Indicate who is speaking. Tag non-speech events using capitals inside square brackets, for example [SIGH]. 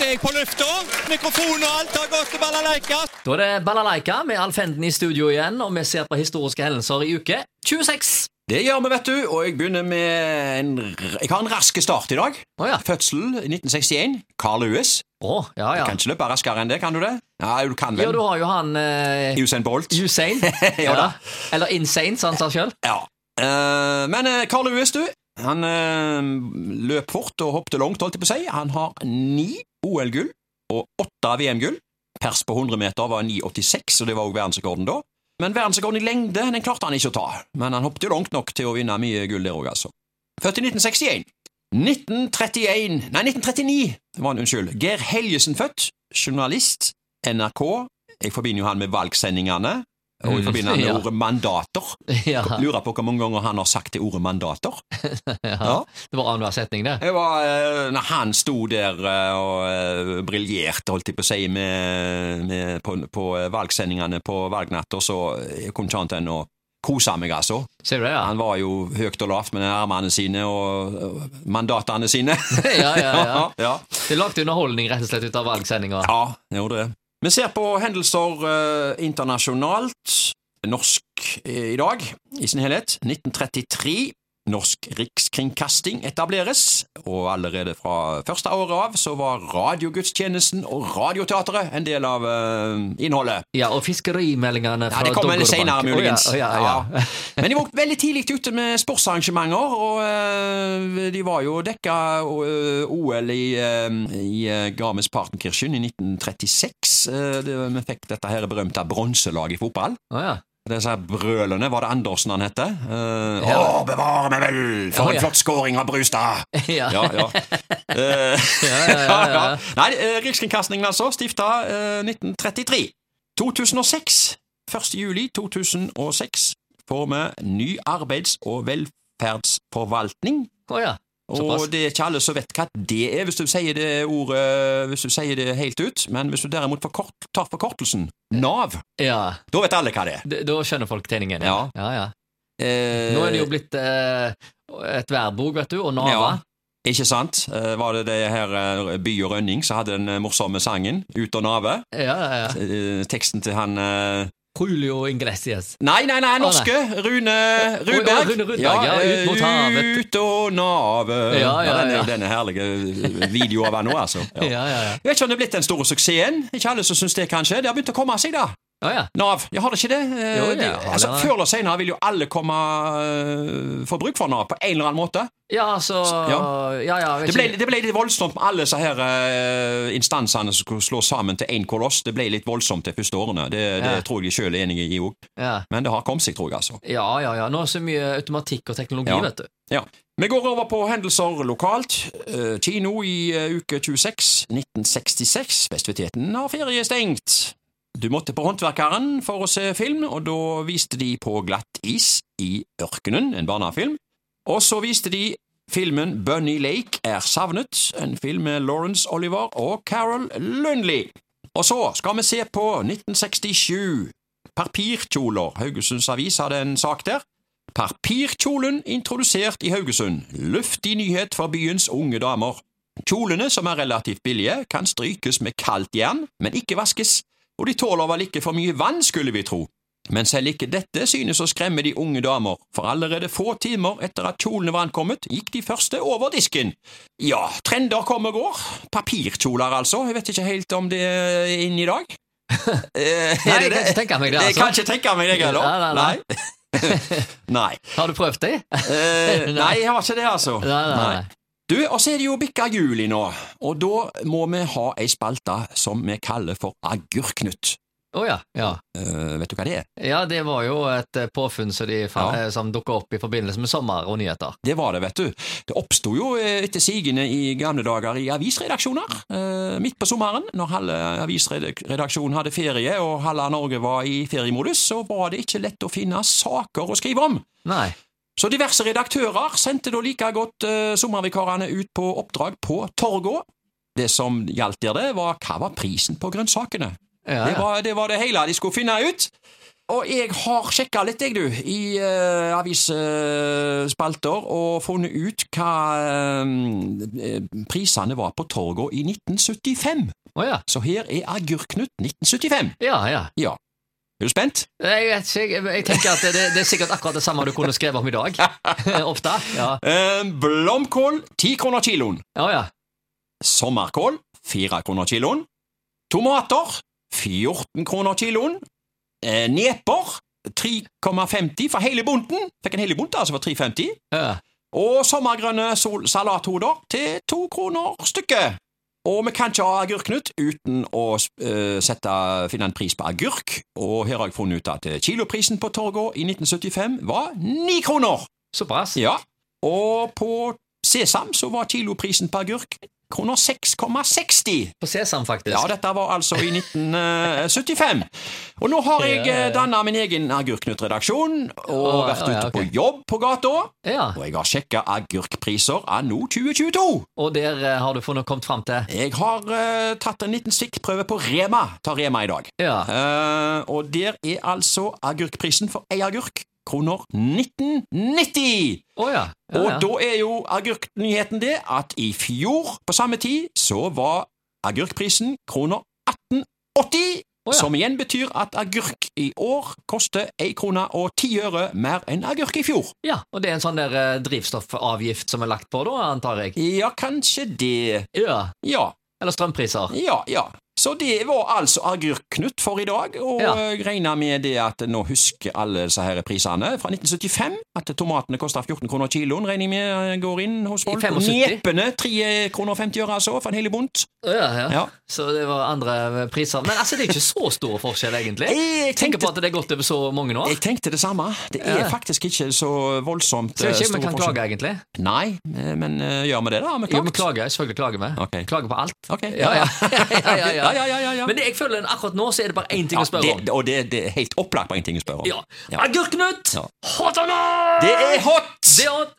Speaker 1: er jeg på lufta. Mikrofon og alt har gått til balalaika.
Speaker 2: Da er det Balalaika med Alf Henden i studio igjen, og vi ser på historiske hendelser i uke 26.
Speaker 1: Det gjør vi, vet du. Og jeg begynner med en r- Jeg har en rask start i dag.
Speaker 2: Å ja.
Speaker 1: Fødsel 1961. Carl Lewis.
Speaker 2: Å, ja, ja.
Speaker 1: Kan ikke løpe raskere enn det, kan du det? Ja, du kan
Speaker 2: Ja,
Speaker 1: vel.
Speaker 2: du har jo han eh,
Speaker 1: [LAUGHS] Usain Bolt.
Speaker 2: Usain.
Speaker 1: [LAUGHS] Ja da.
Speaker 2: Eller Insane, som han sa
Speaker 1: [LAUGHS]
Speaker 2: sjøl.
Speaker 1: Ja. Eh, men eh, Carl Lewis, du. Han eh, løp fort og hoppet langt, holdt jeg på å si. Han har ni OL-gull og åtte VM-gull. Pers på 100 meter var 9,86, og det var også verdensrekorden da. Men verdensrekorden i lengde den klarte han ikke å ta. Men han hoppet jo langt nok til å vinne mye gull der òg, altså. Født i 1961. 1931 Nei, 1939 var han, unnskyld. Geir Helgesen født. Journalist. NRK. Jeg forbinder jo han med valgsendingene, og jeg
Speaker 2: Mm,
Speaker 1: forbinder han med
Speaker 2: ja.
Speaker 1: ordet mandater.
Speaker 2: Ja,
Speaker 1: Lurer på hvor mange ganger han har sagt det ordet mandater.
Speaker 2: ja.
Speaker 1: Ja.
Speaker 2: Det var annenhver setning, det.
Speaker 1: Jeg var, eh, når han sto der eh, og eh, briljerte, holdt jeg på å si, med, med, på, på eh, valgsendingene på valgnatter, så jeg kunne ikke annet enn å kose meg, altså.
Speaker 2: Ser du det, ja? [LAUGHS]
Speaker 1: Han var jo høyt og lavt med armene sine og og mandatene sine.
Speaker 2: Ja, ja, ja.
Speaker 1: [LAUGHS] ja.
Speaker 2: Det lagde underholdning rett og slett ut av valgsendinga.
Speaker 1: Ja, det gjorde det. Vi ser på hendelser eh, internasjonalt. Norsk eh, i dag i sin helhet. 1933. Norsk rikskringkasting etableres, og allerede fra første året av så var radiogudstjenesten og Radioteatret en del av eh, innholdet.
Speaker 2: Ja, og fiskerimeldingene
Speaker 1: Ja,
Speaker 2: fra
Speaker 1: Det kommer vel
Speaker 2: Doggerbank.
Speaker 1: senere,
Speaker 2: Å, ja,
Speaker 1: muligens.
Speaker 2: å, ja, ja.
Speaker 1: Ja. Men de var veldig tidlig ute med sportsarrangementer, og eh, de var jo dekka eh, OL i, eh, i eh, Garmisch-Partenkirchen i 1936. Eh, det, vi fikk dette her berømte bronselaget i fotball.
Speaker 2: Å, ja.
Speaker 1: Disse her brølene, var det Andersen han hette? Eh,
Speaker 2: Ja.
Speaker 1: Å, bevare meg vel! For
Speaker 2: Å, ja.
Speaker 1: en flott scoring av Brustad!
Speaker 2: Ja.
Speaker 1: Ja, ja. Eh,
Speaker 2: Ja, ja,
Speaker 1: [LAUGHS]
Speaker 2: ja, ja.
Speaker 1: Nei, eh, Rikskringkastingen altså, stifta eh, 1933. 2006, 1. juli 2006, får vi ny arbeids- og velferdsforvaltning.
Speaker 2: Å, ja. Såpass.
Speaker 1: Og det er ikke alle som vet hva det er, hvis du sier det ordet hvis du sier det helt ut. Men hvis du derimot forkort, tar forkortelsen Nav,
Speaker 2: ja.
Speaker 1: da vet alle hva det er.
Speaker 2: D- Da skjønner folk tegningen.
Speaker 1: Ja.
Speaker 2: ja, ja.
Speaker 1: Eh,
Speaker 2: Nå er det jo blitt eh, et verbord, vet du, og nava.
Speaker 1: Ikke sant? Eh, Var det det her eh, By og Rønning som hadde den eh, morsomme sangen, Ut og nave?
Speaker 2: Ja, ja, ja.
Speaker 1: Eh, Teksten til han eh,
Speaker 2: Julio ingressias.
Speaker 1: Nei, nei, nei,
Speaker 2: nei.
Speaker 1: norske. Rune
Speaker 2: Oi, oi,
Speaker 1: Rudberg.
Speaker 2: Rune Rudberg, ja,
Speaker 1: eh,
Speaker 2: ut mot havet.
Speaker 1: Ut og navet.
Speaker 2: Ja, ja,
Speaker 1: denne,
Speaker 2: ja.
Speaker 1: denne herlige videoen eh, av han nå, altså.
Speaker 2: [LAUGHS] Ja, ja, ja.
Speaker 1: Jeg vet ikke om det er blitt den store suksessen. Ikke alle som syns det, kanskje. Det har begynt å komme seg, da.
Speaker 2: Å, ja.
Speaker 1: Nav. Ja, har det ikke det? Eh,
Speaker 2: Jo, ja,
Speaker 1: de, altså,
Speaker 2: eller-
Speaker 1: Før eller senere vil jo alle komme eh, få bruk for Nav på en eller annen måte.
Speaker 2: ja, altså
Speaker 1: Ja.
Speaker 2: Ja, ja. vet
Speaker 1: Det ble,
Speaker 2: ikke-
Speaker 1: det ble litt voldsomt med alle disse her eh, instansene som skulle slå sammen til én koloss. Det ble litt voldsomt de første årene. Det, det
Speaker 2: Ja.
Speaker 1: tror jeg de sjøl er enig i òg.
Speaker 2: ja.
Speaker 1: Men det har kommet seg, tror jeg, altså.
Speaker 2: ja, ja, ja. Nå er det så mye automatikk og teknologi,
Speaker 1: Ja.
Speaker 2: vet du.
Speaker 1: Ja. Vi går over på hendelser lokalt. Eh, Kino i eh, uke 26, 1966. Festiviteten har feriestengt. Du måtte på Håndverkeren for å se film, og da viste de På glatt is i ørkenen, en barnefilm. Og så viste de filmen Bunny Lake er savnet, en film med Lawrence Oliver og Carol Lundley. Og så skal vi se på 1967. Papirkjoler. Haugesunds Avis hadde en sak der. Papirkjolen introdusert i Haugesund. Luftig nyhet for byens unge damer. Kjolene, som er relativt billige, kan strykes med kaldt jern, men ikke vaskes, og de tåler vel ikke for mye vann, skulle vi tro. Men selv ikke dette synes å skremme de unge damer, for allerede få timer etter at kjolene var ankommet, gikk de første over disken. Ja, trender kommer og går. Papirkjoler, altså. Jeg vet ikke helt om det er inne i dag. Eh, er
Speaker 2: Nei,
Speaker 1: det
Speaker 2: jeg kan
Speaker 1: det?
Speaker 2: ikke tenke meg det,
Speaker 1: Jeg kan
Speaker 2: altså.
Speaker 1: ikke tenke meg det, heller.
Speaker 2: Nei, nei, nei.
Speaker 1: Nei. [LAUGHS]
Speaker 2: Har du prøvd det? [LAUGHS]
Speaker 1: Eh, nei, jeg har ikke det, altså.
Speaker 2: Nei, nei, nei.
Speaker 1: Du, og så er det jo bikka juli nå, og da må vi ha ei spalte som vi kaller for Agurknytt.
Speaker 2: Å ja. ja.
Speaker 1: Eh, vet du hva det er?
Speaker 2: Ja, det var jo et eh, påfunn som, de, fa-
Speaker 1: Ja.
Speaker 2: eh, som dukka opp i forbindelse med sommer og nyheter.
Speaker 1: Det var det, vet du. Det oppsto jo eh, etter sigende i gamle dager i avisredaksjoner. Eh, midt på sommeren, når halve avisredaksjonen hadde ferie og halve Norge var i feriemodus, så var det ikke lett å finne saker å skrive om.
Speaker 2: Nei.
Speaker 1: Så diverse redaktører sendte da like godt eh, sommervikarene ut på oppdrag på Torgå. Det som gjaldt der, det var hva var prisen på grønnsakene.
Speaker 2: Ja,
Speaker 1: Det,
Speaker 2: ja.
Speaker 1: var, det var det hele de skulle finne ut. Og jeg har sjekka litt, jeg, du, i eh, avisspalter, og funnet ut hva eh, prisene var på torga i 1975.
Speaker 2: Å ja.
Speaker 1: Så her er Agurknut 1975.
Speaker 2: Ja, ja.
Speaker 1: Ja. Er du spent?
Speaker 2: Jeg, vet ikke, jeg, jeg tenker at det, det er sikkert akkurat det samme du kunne skrevet om i [LAUGHS] dag. Ofte. Ja.
Speaker 1: Eh, blomkål 10 kroner kiloen.
Speaker 2: ja, ja.
Speaker 1: Sommerkål 4 kroner kiloen. Tomater 14 kroner kiloen. Eh, neper 3,50 for hele bunten. Fikk en hele bunt altså for 3,50.
Speaker 2: Ja.
Speaker 1: Og sommergrønne sol salathoder til to kroner stykket. Og vi kan ikke ha agurknut uten å eh, sette, finne en pris på agurk. Og her har jeg funnet ut at eh, kiloprisen på torga i 1975 var ni kroner.
Speaker 2: Såpass.
Speaker 1: Ja. Og på sesam så var kiloprisen på agurk kroner 6,60.
Speaker 2: På sesam, faktisk.
Speaker 1: Ja, dette var altså i 1975. Og nå har jeg
Speaker 2: Ja, ja, ja.
Speaker 1: danna min egen Agurknut-redaksjon og
Speaker 2: Å,
Speaker 1: vært
Speaker 2: ja, ja,
Speaker 1: ute på
Speaker 2: ok.
Speaker 1: jobb på gata.
Speaker 2: Ja,
Speaker 1: Og jeg har sjekka agurkpriser anno 2022.
Speaker 2: Og der eh, har du funnet kommet fram til
Speaker 1: Jeg har eh, tatt en liten stikkprøve på Rema. Ta Rema i dag.
Speaker 2: Ja.
Speaker 1: Eh, og der er altså agurkprisen for ei agurk kroner 1990.
Speaker 2: Å ja. ja,
Speaker 1: Og
Speaker 2: ja.
Speaker 1: da er jo agurknyheten det at i fjor på samme tid så var agurkprisen kroner 1880.
Speaker 2: Å ja.
Speaker 1: Som igjen betyr at agurk i år koster ei krone og ti øre mer enn agurk i fjor.
Speaker 2: ja, og det er en sånn der eh, drivstoffavgift som er lagt på, da, antar jeg.
Speaker 1: Ja, kanskje det
Speaker 2: Ja.
Speaker 1: Ja,
Speaker 2: Eller strømpriser.
Speaker 1: ja, ja. Så det var altså Agurk-Knut for i dag, og
Speaker 2: Ja.
Speaker 1: jeg regner med det at nå husker alle disse her prisene fra 1975. At tomatene koster 14 kroner kiloen, regner jeg med går inn hos folk. Og
Speaker 2: 75.
Speaker 1: Nepene 3 kroner og 50 øre altså, for en hel bunt.
Speaker 2: Ja, ja.
Speaker 1: Ja.
Speaker 2: Så det var andre priser. Men altså, det er ikke så stor forskjell, egentlig.
Speaker 1: Jeg
Speaker 2: Tenker
Speaker 1: tenkte,
Speaker 2: på at det er gått over så mange år.
Speaker 1: jeg tenkte det samme. Det er
Speaker 2: Ja.
Speaker 1: faktisk ikke så voldsomt
Speaker 2: Så det
Speaker 1: eh,
Speaker 2: er ikke
Speaker 1: stor
Speaker 2: vi kan
Speaker 1: forskjell.
Speaker 2: klage, egentlig.
Speaker 1: Nei, eh, men eh, gjør vi det, da? Har vi
Speaker 2: Jo, vi
Speaker 1: klagt?
Speaker 2: klager. Selvfølgelig klager vi.
Speaker 1: Ok.
Speaker 2: Klager på alt.
Speaker 1: Ok,
Speaker 2: Ja, ja. ja, ja, ja.
Speaker 1: [LAUGHS] ja, ja, ja.
Speaker 2: Men det, jeg føler akkurat nå så er det bare én ting
Speaker 1: Ja,
Speaker 2: å spørre om.
Speaker 1: det, og det, det er helt opplagt bare én ting å spørre om.
Speaker 2: Ja.
Speaker 1: Ja.
Speaker 2: Agurknut!
Speaker 1: Ja.
Speaker 2: Hot or not?
Speaker 1: Det er hot!
Speaker 2: Det er hot.